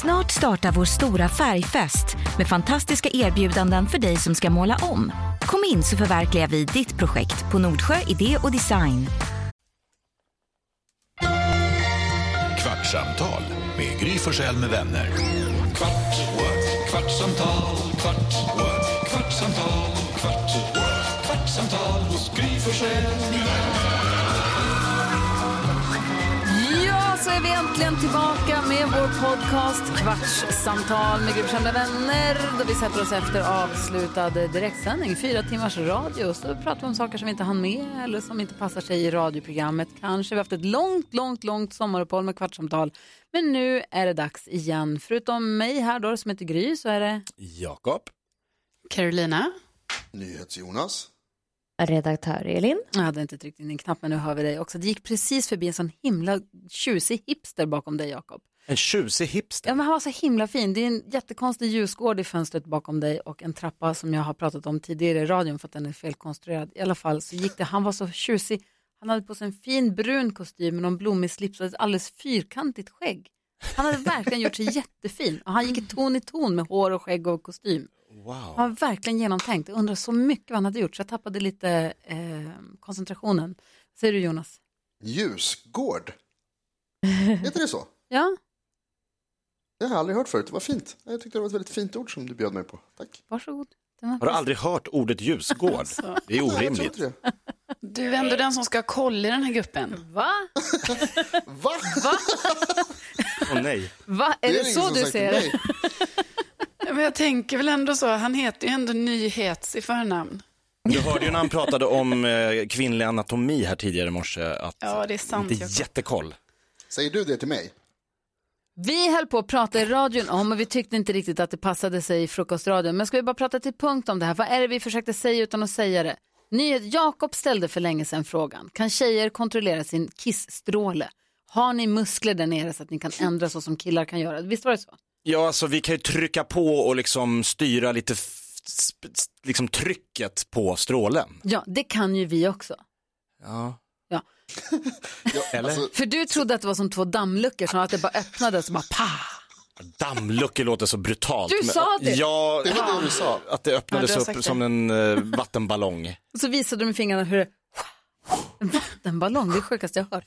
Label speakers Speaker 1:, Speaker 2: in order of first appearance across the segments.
Speaker 1: Snart startar vår stora färgfest med fantastiska erbjudanden för dig som ska måla om. Kom in så förverkligar vi ditt projekt på Nordsjö Idé och Design.
Speaker 2: Kvartsamtal med Gry Forssell med vänner. Kvart, what? kvartsamtal, kvart, what? kvartsamtal, kvart, what? kvartsamtal hos Gry Forssell med vänner.
Speaker 3: Ja, så är vi äntligen tillbaka med vår podcast Kvartssamtal med Gry Forssell med vänner. Då vi sätter oss efter avslutad direktsändning, fyra timmars radio. Så pratar vi om saker som vi inte hann med eller som inte passar sig i radioprogrammet kanske. Vi har haft ett långt, långt, långt sommaruppehåll med Kvartssamtal. Men nu är det dags igen. Förutom mig här då som heter Gry så är det...
Speaker 4: Jakob.
Speaker 3: Carolina.
Speaker 5: NyhetsJonas.
Speaker 6: Redaktör Elin.
Speaker 3: Jag hade inte tryckt in en knapp men nu hör vi dig också. Det gick precis förbi en sån himla tjusig hipster bakom dig Jakob.
Speaker 4: En tjusig hipster.
Speaker 3: Ja, men han var så himla fin. Det är en jättekonstig ljusgård i fönstret bakom dig och en trappa som jag har pratat om tidigare i radion för att den är felkonstruerad. I alla fall så gick det. Han var så tjusig. Han hade på sig en fin brun kostym med någon blommig slips och ett alldeles fyrkantigt skägg. Han hade verkligen gjort sig jättefin och han gick i ton i ton med hår och skägg och kostym.
Speaker 4: Wow.
Speaker 3: Han var verkligen genomtänkt. Jag undrar så mycket vad han hade gjort så jag tappade lite eh, koncentrationen. Säger du Jonas?
Speaker 5: Ljusgård. Heter det så?
Speaker 3: Ja,
Speaker 5: Det har jag aldrig hört förut. Det var fint. Jag tyckte det var ett väldigt fint ord som du bjöd mig på. Tack.
Speaker 3: varsågod. Den var
Speaker 4: Har du aldrig hört ordet ljusgård?
Speaker 7: Alltså.
Speaker 4: Det är
Speaker 5: Nej, jag tror
Speaker 4: orimligt.
Speaker 5: inte det.
Speaker 7: Du är ändå den som ska ha koll i den här gruppen.
Speaker 3: Va?
Speaker 5: Va?
Speaker 4: Åh nej.
Speaker 3: Va? Är det,
Speaker 5: ingen
Speaker 3: så
Speaker 5: som
Speaker 3: du
Speaker 5: sagt
Speaker 3: ser det?
Speaker 5: till mig.
Speaker 7: Ja, Men jag tänker väl ändå så, han heter ju ändå Nyhets i förnamn.
Speaker 4: Du hörde ju när han pratade om eh, kvinnlig anatomi här tidigare i morse att
Speaker 7: Ja, det är sant.
Speaker 4: inte
Speaker 7: Jakob.
Speaker 4: jättekoll.
Speaker 5: Säger du det till mig?
Speaker 3: Vi höll på att prata i radion om och vi tyckte inte riktigt att det passade sig i frukostradion. Men ska vi bara prata till punkt om det här? Vad är det vi försökte säga utan att säga det? Nyhet, Jakob ställde för länge sedan frågan. Kan tjejer kontrollera sin kissstråle? Har ni muskler där nere så att ni kan ändra så som killar kan göra? Visst var det så?
Speaker 4: Ja, alltså vi kan ju trycka på och liksom styra lite f- sp- s- liksom trycket på strålen.
Speaker 3: Ja, det kan ju vi också.
Speaker 4: Ja.
Speaker 3: Ja.
Speaker 5: Ja,
Speaker 4: Eller?
Speaker 5: alltså,
Speaker 3: För du trodde att det var som två dammluckor, som att det bara öppnades och bara pa!
Speaker 4: Dammluckor låter så brutalt.
Speaker 3: Du sa det.
Speaker 4: Ja,
Speaker 5: det var det du sa.
Speaker 4: att det öppnades
Speaker 7: Ja, du har
Speaker 4: upp
Speaker 7: sagt det.
Speaker 4: som en eh, vattenballong.
Speaker 3: Och så visade de med fingrarna hur det... En vattenballong, det är det sjukaste jag har hört.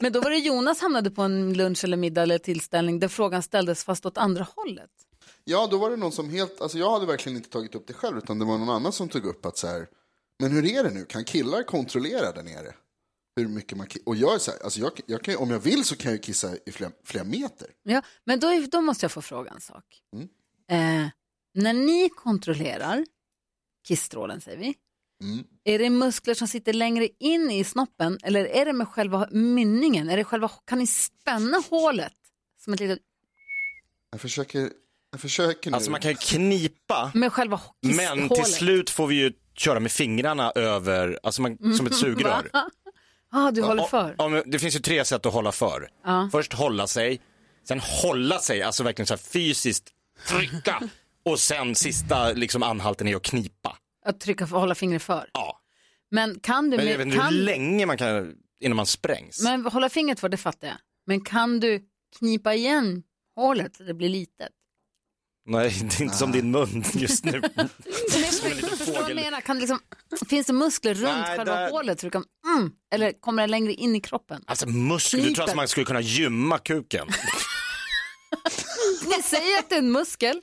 Speaker 3: Men då var det Jonas hamnade på en lunch eller middag eller tillställning där frågan ställdes fast åt andra hållet.
Speaker 5: Ja, då var det någon som helt... Alltså jag hade verkligen inte tagit upp det själv, utan det var någon annan som tog upp att så här... Men hur är det nu? Kan killar kontrollera där nere? Hur mycket man... ki- Och jag är så här, alltså jag, jag kan, ju- om jag vill så kan jag ju kissa i flera, flera meter.
Speaker 3: Ja, men då, är, då måste jag få fråga en sak. Eh, när ni kontrollerar kissstrålen, säger vi,
Speaker 5: Mm.
Speaker 3: är det muskler som sitter längre in i snoppen eller är det med själva mynningen? Är det själva, kan ni spänna hålet som ett litet,
Speaker 5: Jag försöker, jag försöker nu.
Speaker 4: Alltså man kan ju knipa,
Speaker 3: med själva kisshålet?
Speaker 4: men till slut får vi ju köra med fingrarna över, alltså man,
Speaker 3: Mm.
Speaker 4: som ett sugrör.
Speaker 3: Ah, du håller för?
Speaker 4: Ja, men det finns ju tre sätt att hålla för.
Speaker 3: Ja.
Speaker 4: Först hålla sig, sen hålla sig, alltså verkligen så här fysiskt trycka och sen sista liksom anhalten är att knipa.
Speaker 3: Att trycka, hålla fingret för?
Speaker 4: Ja.
Speaker 3: Men kan du...
Speaker 4: Men
Speaker 3: med-
Speaker 4: jag vet inte hur
Speaker 3: kan,
Speaker 4: länge man kan, innan man sprängs.
Speaker 3: men hålla fingret för, det fattar jag. Men kan du knipa igen hålet så det blir litet?
Speaker 4: Nej, det är inte som din mun just nu.
Speaker 3: Men,
Speaker 4: liten
Speaker 3: förstår vad jag
Speaker 4: fågel.
Speaker 3: menar? Kan det liksom, finns det muskler runt
Speaker 4: Nej,
Speaker 3: själva
Speaker 4: där-
Speaker 3: hålet? Så du kan, mm, eller kommer det längre in i kroppen?
Speaker 4: Alltså muskler, du tror att man skulle kunna gymma kuken?
Speaker 3: Ni säger att det är en muskel.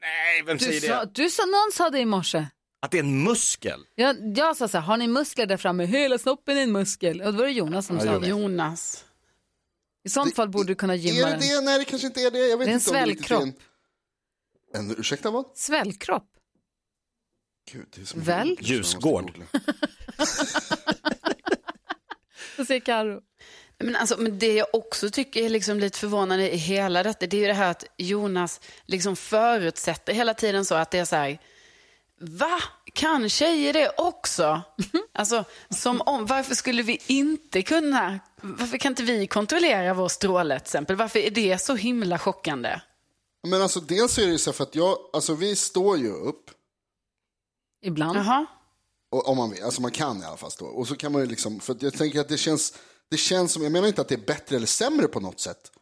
Speaker 4: Nej, vem
Speaker 3: Du
Speaker 4: säger
Speaker 3: sa,
Speaker 4: det?
Speaker 3: du sa, någon sa det i morse.
Speaker 4: Att det är en muskel?
Speaker 3: Jag, jag sa så här, har ni muskler där framme? Hela snoppen är en muskel. Och då var det Jonas som sa det.
Speaker 7: Jonas.
Speaker 3: I sånt fall borde du kunna gymma
Speaker 5: Är det
Speaker 3: den.
Speaker 5: det? Nej, det kanske inte är det. Jag vet
Speaker 3: Det är en
Speaker 5: inte om riktigt är
Speaker 3: svällkropp.
Speaker 5: En... en... Ursäkta, vad?
Speaker 3: Svällkropp.
Speaker 5: Gud, det är så mycket
Speaker 3: Väl?
Speaker 5: ord som jag måste
Speaker 4: Ljusgård.
Speaker 5: googla.
Speaker 3: Så säger Karo.
Speaker 7: Men, alltså, men det jag också tycker är liksom lite förvånande i hela detta, det är ju det här att Jonas liksom förutsätter hela tiden så att det är så här, va? Kan tjejer det också? Alltså, som om, varför skulle vi inte kunna, varför kan inte vi kontrollera vår stråle till exempel? Varför är det så himla chockande?
Speaker 5: Men alltså dels så är det ju så här för att jag, alltså vi står ju upp,
Speaker 3: Ibland.
Speaker 7: Jaha.
Speaker 5: och, om man vill, alltså man kan i alla fall stå, och så kan man ju liksom, för att jag tänker att det känns, det känns som, jag menar inte att det är bättre eller sämre på något sätt,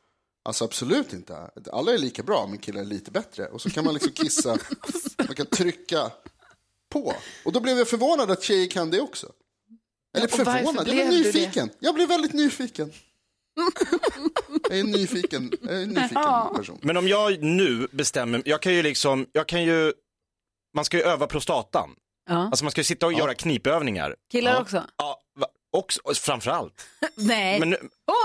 Speaker 5: Alltså absolut inte. Alla är lika bra, men killar är lite bättre. Och så kan man liksom kissa, man kan trycka på. Och då blev jag förvånad att tjejer kan det också. Eller
Speaker 7: och varför
Speaker 5: förvånad, jag blev
Speaker 7: blev du det?
Speaker 5: nyfiken. Jag blev väldigt nyfiken. Jag är en nyfiken, jag är en nyfiken person.
Speaker 4: Men om jag nu bestämmer, jag kan ju liksom, jag kan ju, man ska ju öva prostatan.
Speaker 3: Ja.
Speaker 4: Alltså man ska ju sitta och göra knipövningar.
Speaker 3: Killar också? Eh,
Speaker 4: Ja, va- också, och framförallt.
Speaker 3: Nej.
Speaker 4: Men
Speaker 3: Åh,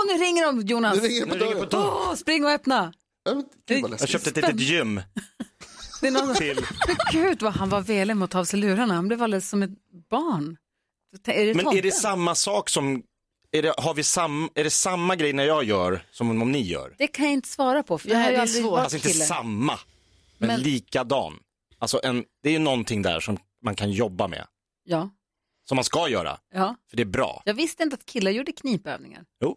Speaker 4: nu,
Speaker 3: nu ringer de Jonas.
Speaker 5: Nu ringer det på
Speaker 4: Nu ringer det
Speaker 5: dörren.
Speaker 4: på dörren.
Speaker 3: Åh, spring och öppna.
Speaker 5: Jag vet inte, Gud vad
Speaker 4: jag
Speaker 5: läskigt.
Speaker 4: köpte ett litet gym
Speaker 3: Det är någon...
Speaker 4: till.
Speaker 3: Men Gud vad han var velig med att ta av sig lurarna. Han blev alldeles som liksom ett barn. Är det
Speaker 4: Men är
Speaker 3: tomten?
Speaker 4: det samma sak som, är det, har vi sam, är det samma grej när jag gör som om ni gör?
Speaker 3: Det kan jag inte svara på. För jag
Speaker 7: Nej,
Speaker 3: har ju
Speaker 7: det är
Speaker 3: aldrig
Speaker 7: svårt.
Speaker 3: varit
Speaker 4: Alltså inte
Speaker 3: kille.
Speaker 4: samma, men,
Speaker 3: Men-
Speaker 4: likadan. Alltså en, det är ju någonting där som man kan jobba med,
Speaker 3: Ja,
Speaker 4: som man ska göra,
Speaker 3: ja.
Speaker 4: för det är bra.
Speaker 3: Jag visste inte att killar gjorde knipövningar.
Speaker 4: Jo,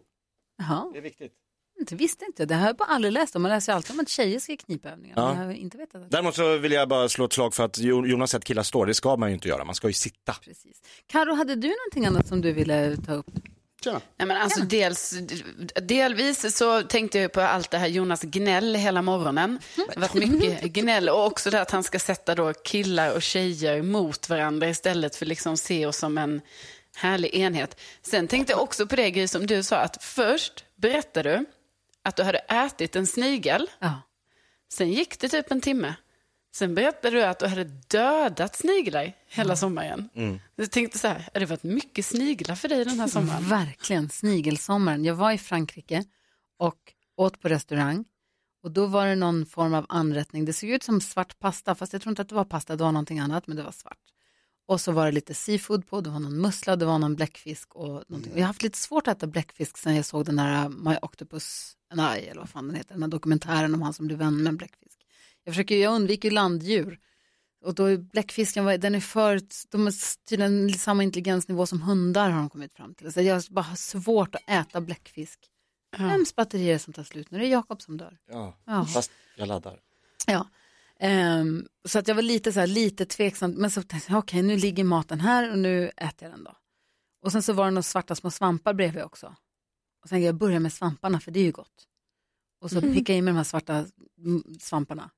Speaker 3: Jaha,
Speaker 4: det är viktigt.
Speaker 3: inte visste inte jag. Det här har jag bara aldrig läst om. Man läser ju alltid om att tjejer ska göra knipövningar.
Speaker 4: Ja.
Speaker 3: Men jag har inte vetat att...
Speaker 4: Däremot så vill jag bara slå ett slag för att Jo- Jonas säger att killar står, det ska man ju inte göra, man ska ju sitta.
Speaker 3: Precis. Karo, hade du någonting annat som du ville ta upp?
Speaker 5: Tjena.
Speaker 7: Nej, men alltså, dels, delvis så tänkte jag på allt det här Jonas gnäll hela morgonen. Det har varit mycket gnäll och också det att han ska sätta då killar och tjejer mot varandra istället för liksom se oss som en härlig enhet. Sen tänkte jag också på det Gry som du sa att först berättade du att du hade ätit en snigel.
Speaker 3: Ja.
Speaker 7: Sen gick det typ en timme. Sen berättade du att du hade dödat sniglar hela sommaren. Jag tänkte så här, har det varit mycket sniglar för dig den här sommaren?
Speaker 3: Verkligen, snigelsommaren. Jag var i Frankrike och åt på restaurang. Och då var det någon form av anrättning. Det såg ut som svart pasta, fast jag tror inte att det var pasta, det var någonting annat, men det var svart. Och så var det lite seafood på, det var någon mussla, det var någon bläckfisk och någonting. Och jag har haft lite svårt att äta bläckfisk sen jag såg den där äh, My Octopus and I, eller vad fan den heter, den här dokumentären om han som blev vän med en bläckfisk. Jag försöker, jag undviker ju landdjur. Och då är bläckfisken, var- den är för, de har tydligen samma intelligensnivå som hundar har de kommit fram till. Så jag bara har svårt att äta bläckfisk. Vems batterier som tar slut nu? Det är Jakob som dör.
Speaker 4: Ja.
Speaker 3: Ja.
Speaker 4: Fast jag laddar.
Speaker 3: Ja. Ehm, så att jag var lite, så här, lite tveksam, men så tänkte jag okej nu ligger maten här och nu äter jag den då. Och sen så var det några svarta små svampar bredvid också. Och sen jag börjar med svamparna för det är ju gott. Och så pickade jag i mig de här svarta mm, svamparna.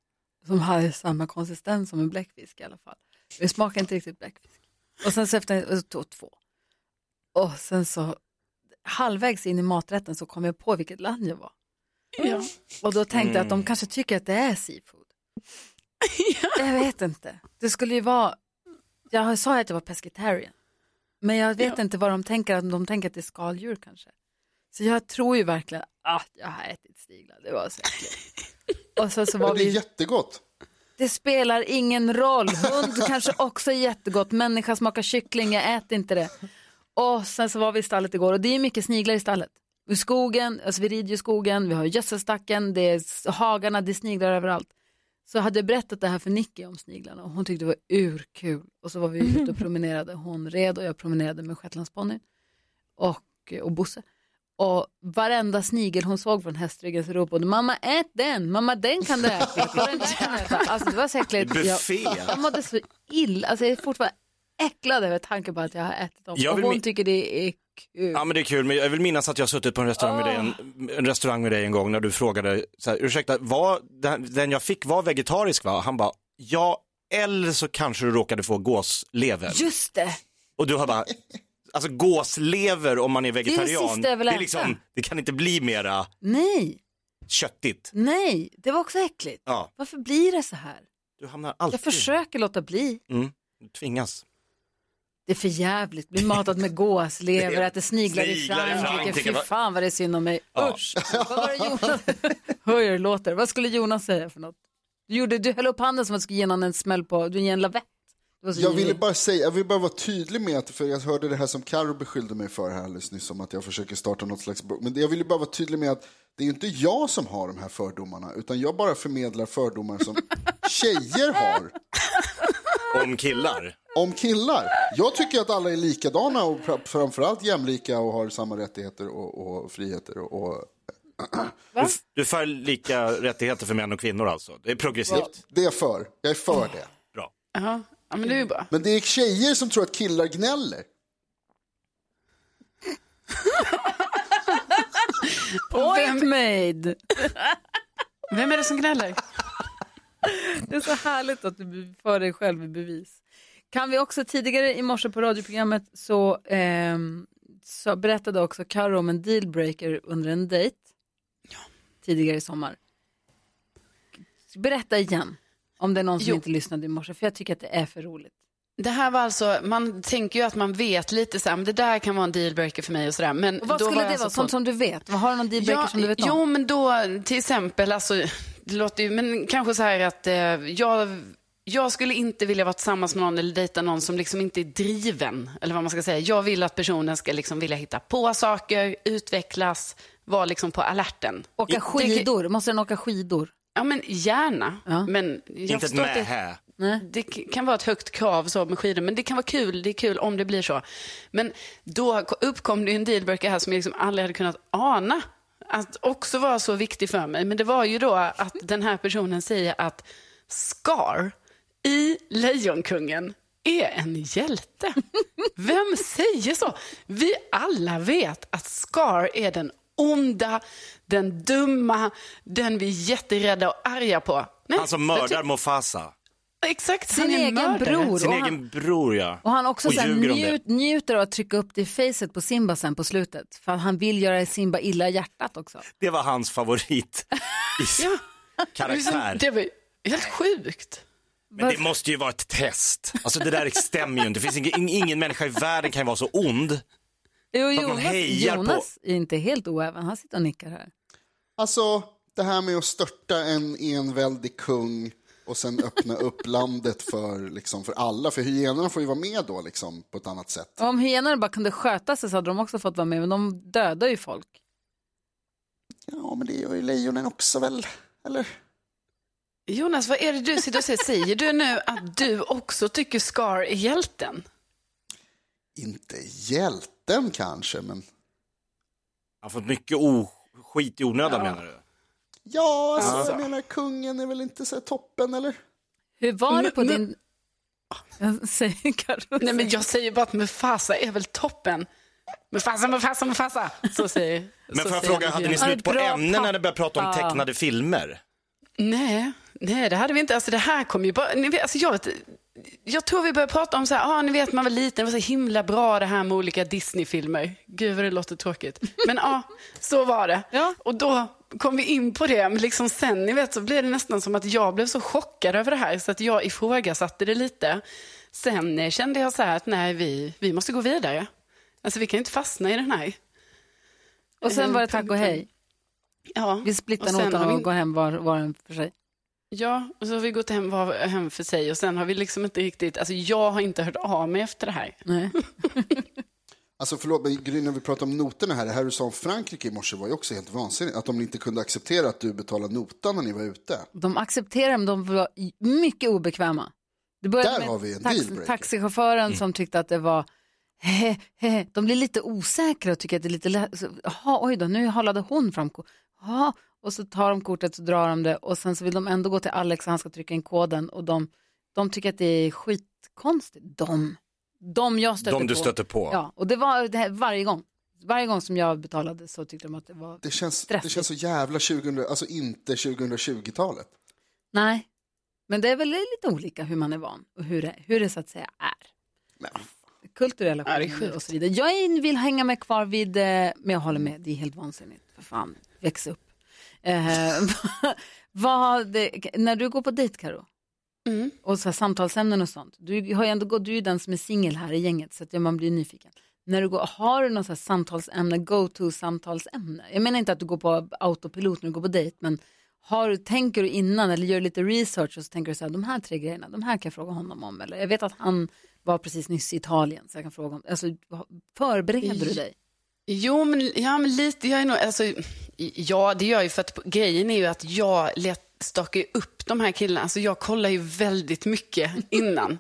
Speaker 3: Som har samma konsistens som en bläckfisk i alla fall. Det smakar inte riktigt bläckfisk. Och sen så efter, och så tog jag två. Och sen så halvvägs in i maträtten så kom jag på vilket land jag var. Och då tänkte jag att
Speaker 5: Mm.
Speaker 3: de kanske tycker att det är seafood. Jag vet inte. Det skulle ju vara, jag sa ju att jag var pescetarian. Men jag vet inte vad de tänker, om de tänker att det är skaldjur kanske. Så jag tror ju verkligen att jag har ätit sniglar, det var så äckligt. Och så, så var
Speaker 5: Det är
Speaker 3: vi,
Speaker 5: jättegott.
Speaker 3: det spelar ingen roll, hund kanske också är jättegott, människa smakar kyckling, jag äter inte det. Och sen så var vi i stallet igår och det är mycket sniglar i stallet. I skogen, alltså vi rider ju i skogen, vi har gödselstacken, det är s- hagarna, det är sniglar överallt. Så hade jag berättat det här för Nicky om sniglarna och hon tyckte det var urkul. Och så var vi ute och promenerade, hon red och jag promenerade med shetlandsponnyn och, och Bosse. Och varenda snigel hon såg från hästryggen så ropade hon, mamma ät den, mamma den kan du äta, "Mamma, den där kan du äta. Alltså det var så äckligt.
Speaker 4: Buffé.
Speaker 3: Jag, jag mådde så illa, alltså jag är fortfarande äcklad över tanken på att jag har ätit dem.
Speaker 4: Jag
Speaker 3: och
Speaker 4: vill
Speaker 3: hon
Speaker 4: min-
Speaker 3: tycker det är kul.
Speaker 4: Ja men det är kul, men jag vill minnas att jag har suttit på en restaurang, med, dig en, en restaurang med dig en gång när du frågade, så här, ursäkta, var, den, den jag fick var vegetarisk va? Han bara, ja, eller så kanske du råkade få gåslever.
Speaker 3: Just det,
Speaker 4: Och du har bara, alltså gåslever om man är
Speaker 3: det
Speaker 4: vegetarian,
Speaker 3: sista jag vill äta.
Speaker 4: det kan inte bli mera
Speaker 3: nej,
Speaker 4: köttigt.
Speaker 3: nej, det var också äckligt.
Speaker 4: Ja,
Speaker 3: Varför blir det så här?
Speaker 4: du hamnar alltid, Mm.
Speaker 3: Jag försöker låta bli.
Speaker 4: du tvingas.
Speaker 3: Det är för jävligt. bli matad med gåslever, äter sniglar i
Speaker 4: Sniglar i
Speaker 3: Frankrike.
Speaker 4: Frankrike,
Speaker 3: Fy
Speaker 4: va?
Speaker 3: fan vad det är synd om mig.
Speaker 4: Ja.
Speaker 3: Usch, vad var det Jonas? Hör hur det låter. Vad skulle Jonas säga för något? Du, gjorde, du höll upp handen som att du skulle ge någon en smäll på, du ger en lavett. Det var så
Speaker 5: Jag ville
Speaker 3: girig.
Speaker 5: bara säga, jag vill bara vara tydlig med att, för jag hörde det här som Karo beskyllde mig för här alldeles nyss, om att jag försöker starta något slags bråk. Men jag ville bara vara tydlig med att det är ju inte jag som har de här fördomarna, utan jag bara förmedlar fördomar som tjejer har
Speaker 4: Om killar.
Speaker 5: om killar. Jag tycker att alla är likadana och pra- framförallt jämlika och har samma rättigheter och, och friheter. Och, och...
Speaker 4: Du, du får lika rättigheter för män och kvinnor alltså. Det är progressivt.
Speaker 5: Det är jag för, jag är för det.
Speaker 4: Bra.
Speaker 7: Ja, ja men det är ju bra.
Speaker 5: Men det är tjejer som tror att killar gnäller.
Speaker 3: Point made.
Speaker 7: Vem är det som gnäller?
Speaker 3: Det är så härligt att du för dig själv i bevis. Kan vi också tidigare i morse på radioprogrammet så, ehm, så berättade också Karo om en dealbreaker under en dejt tidigare i sommar. Berätta igen om det är någon som
Speaker 7: Jo.
Speaker 3: inte lyssnade i morse för jag tycker att det är för roligt.
Speaker 7: Det här var alltså, man tänker ju att man vet lite så här, men det där kan vara en dealbreaker för mig och sådär. Men
Speaker 3: Och vad
Speaker 7: då
Speaker 3: skulle
Speaker 7: var
Speaker 3: det
Speaker 7: jag
Speaker 3: vara?
Speaker 7: alltså
Speaker 3: Sånt
Speaker 7: på-
Speaker 3: som du vet? Vad har du någon dealbreaker som du vet om?
Speaker 7: Jo, men då till exempel, alltså, det låter ju, men kanske så här att eh, jag, jag skulle inte vilja vara tillsammans med någon eller dejta någon som liksom inte är driven, eller vad man ska säga. Jag vill att personen ska liksom vilja hitta på saker, utvecklas, vara liksom på alerten.
Speaker 3: Åka skidor? Måste den åka skidor?
Speaker 7: Ja, men gärna.
Speaker 3: Ja.
Speaker 7: Men jag
Speaker 4: Inte ett
Speaker 7: förstår att det-
Speaker 4: mähä.
Speaker 7: det k- kan vara ett högt krav så med skidor, men det kan vara kul. Det är kul om det blir så. Men då k- uppkom det ju en dealbreaker här som jag liksom aldrig hade kunnat ana att också var så viktig för mig. Men det var ju då att den här personen säger att Scar i Lejonkungen är en hjälte. Vem säger så? Vi alla vet att Scar är den onda, den dumma, den vi är jätterädda och arga på. Nej,
Speaker 4: Han som
Speaker 7: jag
Speaker 4: mördar Mofasa.
Speaker 7: Exakt,
Speaker 3: Sin
Speaker 7: han är en
Speaker 3: egen
Speaker 7: mördare.
Speaker 3: bror.
Speaker 4: Sin
Speaker 3: Och han-
Speaker 4: egen bror ja.
Speaker 3: Och han också
Speaker 4: Och
Speaker 3: så här,
Speaker 4: ljuger om det.
Speaker 3: njut, njuter av att trycka upp det i facet på Simba sen på slutet. För att han vill göra Simba illa i hjärtat också.
Speaker 4: Det var hans favorit i
Speaker 7: Ja.
Speaker 4: karaktär.
Speaker 7: Det var ju helt sjukt.
Speaker 4: Men det måste ju vara ett test. Alltså det där stämmer ju inte. Det finns ingen, ingen människa i världen kan ju vara så ond.
Speaker 3: Jo,
Speaker 4: att man
Speaker 3: Jonas,
Speaker 4: hejar på-
Speaker 3: Jonas är inte helt oäven, han sitter och nickar här.
Speaker 5: Alltså, det här med att störta en enväldig kung och sen öppna upp landet för, liksom, för alla. För hyenorna får ju vara med då liksom, på ett annat sätt.
Speaker 3: Och om hyenorna bara kunde sköta sig så hade de också fått vara med, men de dödar ju folk.
Speaker 5: Ja, men det gör ju lejonen också väl? Eller?
Speaker 7: Jonas, vad är det du sitter och säger? Säger du nu att du också tycker Scar är hjälten?
Speaker 5: Inte hjälten kanske, men...
Speaker 4: Han har fått mycket o- skit i onödan menar du?
Speaker 5: Ja, alltså, jag menar kungen är väl inte så här toppen, eller?
Speaker 3: Hur var det på din... Jag säger Karo.
Speaker 7: Ah. Nej, men jag säger bara att Mufasa är väl toppen. Mufasa, Mufasa, Mufasa. Så säger
Speaker 4: Men
Speaker 7: så
Speaker 4: får jag
Speaker 7: säger
Speaker 4: fråga, hade
Speaker 7: Björn.
Speaker 4: ni slut på
Speaker 3: Bra
Speaker 4: ämnen när ni började prata om
Speaker 3: pappa.
Speaker 4: tecknade filmer?
Speaker 7: Nej, nej, det hade vi inte. Alltså det här kom ju bara... Ni vet, alltså jag, vet, jag tror vi började prata om så här, ah, ni vet man var liten, det var så himla bra det här med olika Disney-filmer. Gud vad det låter tråkigt. Men ja, så var det.
Speaker 3: Ja.
Speaker 7: Och då kom vi in på det, men liksom sen ni vet så blev det nästan som att jag blev så chockad över det här så att jag ifrågasatte det lite. Sen eh, kände jag så här att nej, vi, vi måste gå vidare. Alltså vi kan inte fastna i den här.
Speaker 3: Och sen var det tack och hej.
Speaker 7: Ja.
Speaker 3: Vi splittar
Speaker 7: Och sen
Speaker 3: notan
Speaker 7: har vi-
Speaker 3: och går hem var, var och en för sig.
Speaker 7: Ja, och så har vi gått hem, var, hem för sig och sen har vi liksom inte riktigt, alltså jag har inte hört av mig efter det här.
Speaker 3: Nej.
Speaker 5: Alltså förlåt, men Gry, när vi pratar om noterna här, det här du sa om Frankrike i morse var ju också helt vansinnigt. Att de inte kunde acceptera att du betalade notan när ni var ute.
Speaker 3: De accepterade, men de var mycket obekväma. Det började
Speaker 5: Där
Speaker 3: med
Speaker 5: har vi en dealbreaker.
Speaker 3: taxichauffören
Speaker 4: Mm.
Speaker 3: som tyckte att det var he, he, he. De blir lite osäkra och tycker att det är lite lätt. så, Jaha, oj då, nu halade hon fram kortet. Och så tar de kortet och drar de det och sen så vill de ändå gå till Alex och han ska trycka in koden och de, de tycker att det är skitkonstigt. De, de jag stöter
Speaker 4: De du
Speaker 3: på.
Speaker 4: stöter på?
Speaker 3: Ja, och det var det här, varje gång. Varje gång som jag betalade så tyckte de att det var,
Speaker 5: Det känns, det
Speaker 3: Stressigt.
Speaker 5: känns så jävla 2000, alltså inte 2020-talet.
Speaker 3: nej. Men det är väl lite olika hur man är van och hur det, hur det så att säga är.
Speaker 5: Men
Speaker 3: kulturella
Speaker 7: Ja, det är
Speaker 3: skillnader
Speaker 7: sjukt.
Speaker 3: och så vidare. Jag är- vill hänga mig kvar vid, eh, men jag håller med, det är helt vansinnigt. För fan, väx upp. Eh, vad, det, när du går på dejt Karo
Speaker 7: Mm.
Speaker 3: och så här, samtalsämnen och sånt, du, har ju ändå, gått- du är ju den som är singel här i gänget så att ja, man blir nyfiken. När du går, har du något så här samtalsämne, go-to-samtalsämne? Jag menar inte att du går på autopilot när du går på dejt, men har, du- tänker du innan eller gör lite research och så tänker du så här, de här tre grejerna, de här kan jag fråga honom om. Eller jag vet att han var precis nyss i Italien, så jag kan fråga om, alltså förbereder du dig?
Speaker 7: Jo, men, ja, men lite, jag är nog, alltså, ja det gör jag ju för att grejen är ju att jag let, stakar ju upp de här killarna, alltså jag kollar ju väldigt mycket innan.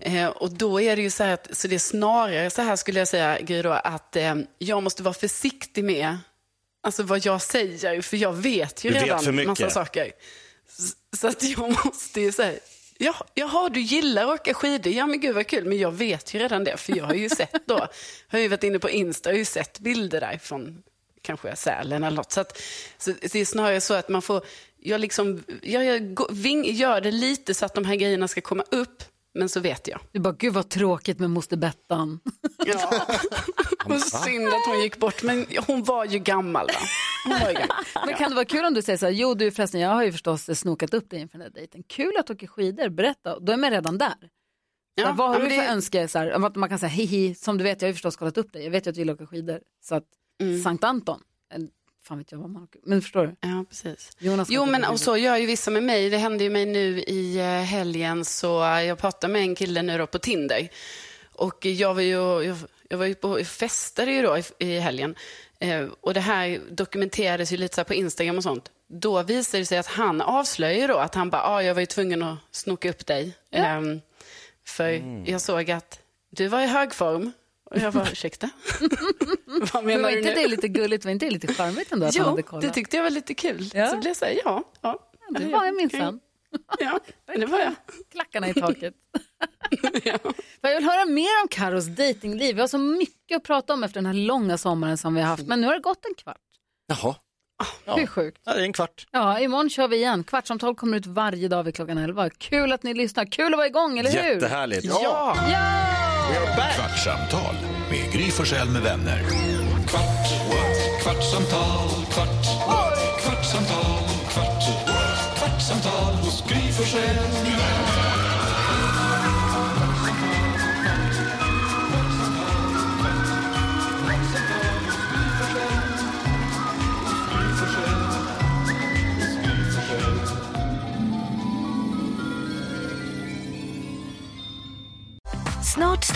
Speaker 7: eh, och då är det ju så här, att, så det är snarare så här skulle jag säga, Gry, då, att eh, jag måste vara försiktig med alltså, vad jag säger, för jag vet ju
Speaker 4: Du vet
Speaker 7: redan
Speaker 4: för mycket.
Speaker 7: massa saker. Så att jag måste ju säga, ja, jaha, du gillar att åka skidor. Ja, men gud vad kul. Men jag vet ju redan det, för jag har ju sett då. Har ju varit inne på Insta och har ju sett bilder där från kanske Sälen eller något. Så, att, så det är snarare så att man får, jag, liksom, jag, jag gå- ving, gör det lite så att de här grejerna ska komma upp, men så vet jag.
Speaker 3: Du bara, gud vad tråkigt med moster Bettan.
Speaker 7: Ja. och synd att hon gick bort, men hon var ju gammal. Va? Hon var ju gammal.
Speaker 3: Men kan det vara kul om du säger så här, jo du förresten, jag har ju förstås snokat upp dig inför den här dejten. Kul att du åker skidor, berätta. Då är man redan där. Så här,
Speaker 7: Ja,
Speaker 3: vad har
Speaker 7: ja, men
Speaker 3: du för
Speaker 7: det-
Speaker 3: önske? Så här, om att man kan säga, hihi, som du vet, jag har ju förstås kollat upp dig. Jag vet ju att du gillar att åka skidor. Så att, Sankt Anton. En- Fan vet jag vad man åker. Men förstår du?
Speaker 7: Ja, precis.
Speaker 3: Jonas
Speaker 7: jo,
Speaker 3: åker
Speaker 7: men
Speaker 3: skidor.
Speaker 7: och så gör ju vissa med mig. Det hände ju mig nu i eh, helgen, så eh, jag pratade med en kille nu då på Tinder. Och jag var ju, jag, jag var ju på, jag festade ju då i, i helgen. Eh, och det här dokumenterades ju lite så här på Instagram och sånt. Då visade det sig att han avslöjar ju då att han bara, ah, jag var ju tvungen att snoka upp dig. Ehm, för jag såg att du var i hög form. Och jag bara, ursäkta?
Speaker 3: Men
Speaker 7: Vad menar
Speaker 3: var
Speaker 7: du
Speaker 3: inte
Speaker 7: nu?
Speaker 3: det lite gulligt? Var inte det lite charmigt ändå att han hade
Speaker 7: Jo,
Speaker 3: kollat?
Speaker 7: det tyckte jag var lite kul.
Speaker 3: Ja.
Speaker 7: Så blev jag så här, ja. ja.
Speaker 3: det var jag minsann.
Speaker 7: Ja, det var jag.
Speaker 3: Klackarna i taket. Jag vill höra mer om Karos dejtingliv. Vi har så mycket att prata om efter den här långa sommaren som vi har haft. Men nu har det gått en kvart.
Speaker 4: Jaha,
Speaker 3: Hur sjukt?
Speaker 4: ja, det är en kvart.
Speaker 3: Ja, imorgon kör vi igen. Kvartsamtal kommer ut varje dag vid klockan 11. Kul att ni lyssnar. Kul att vara igång, eller hur?
Speaker 4: Jättehärligt.
Speaker 5: Ja.
Speaker 2: Kvartsamtal med Gry Forssell med vänner. Kvart, what? kvartsamtal, kvart, what? kvartsamtal, kvart, what? kvartsamtal hos Gry Forssell med vänner.
Speaker 1: Snart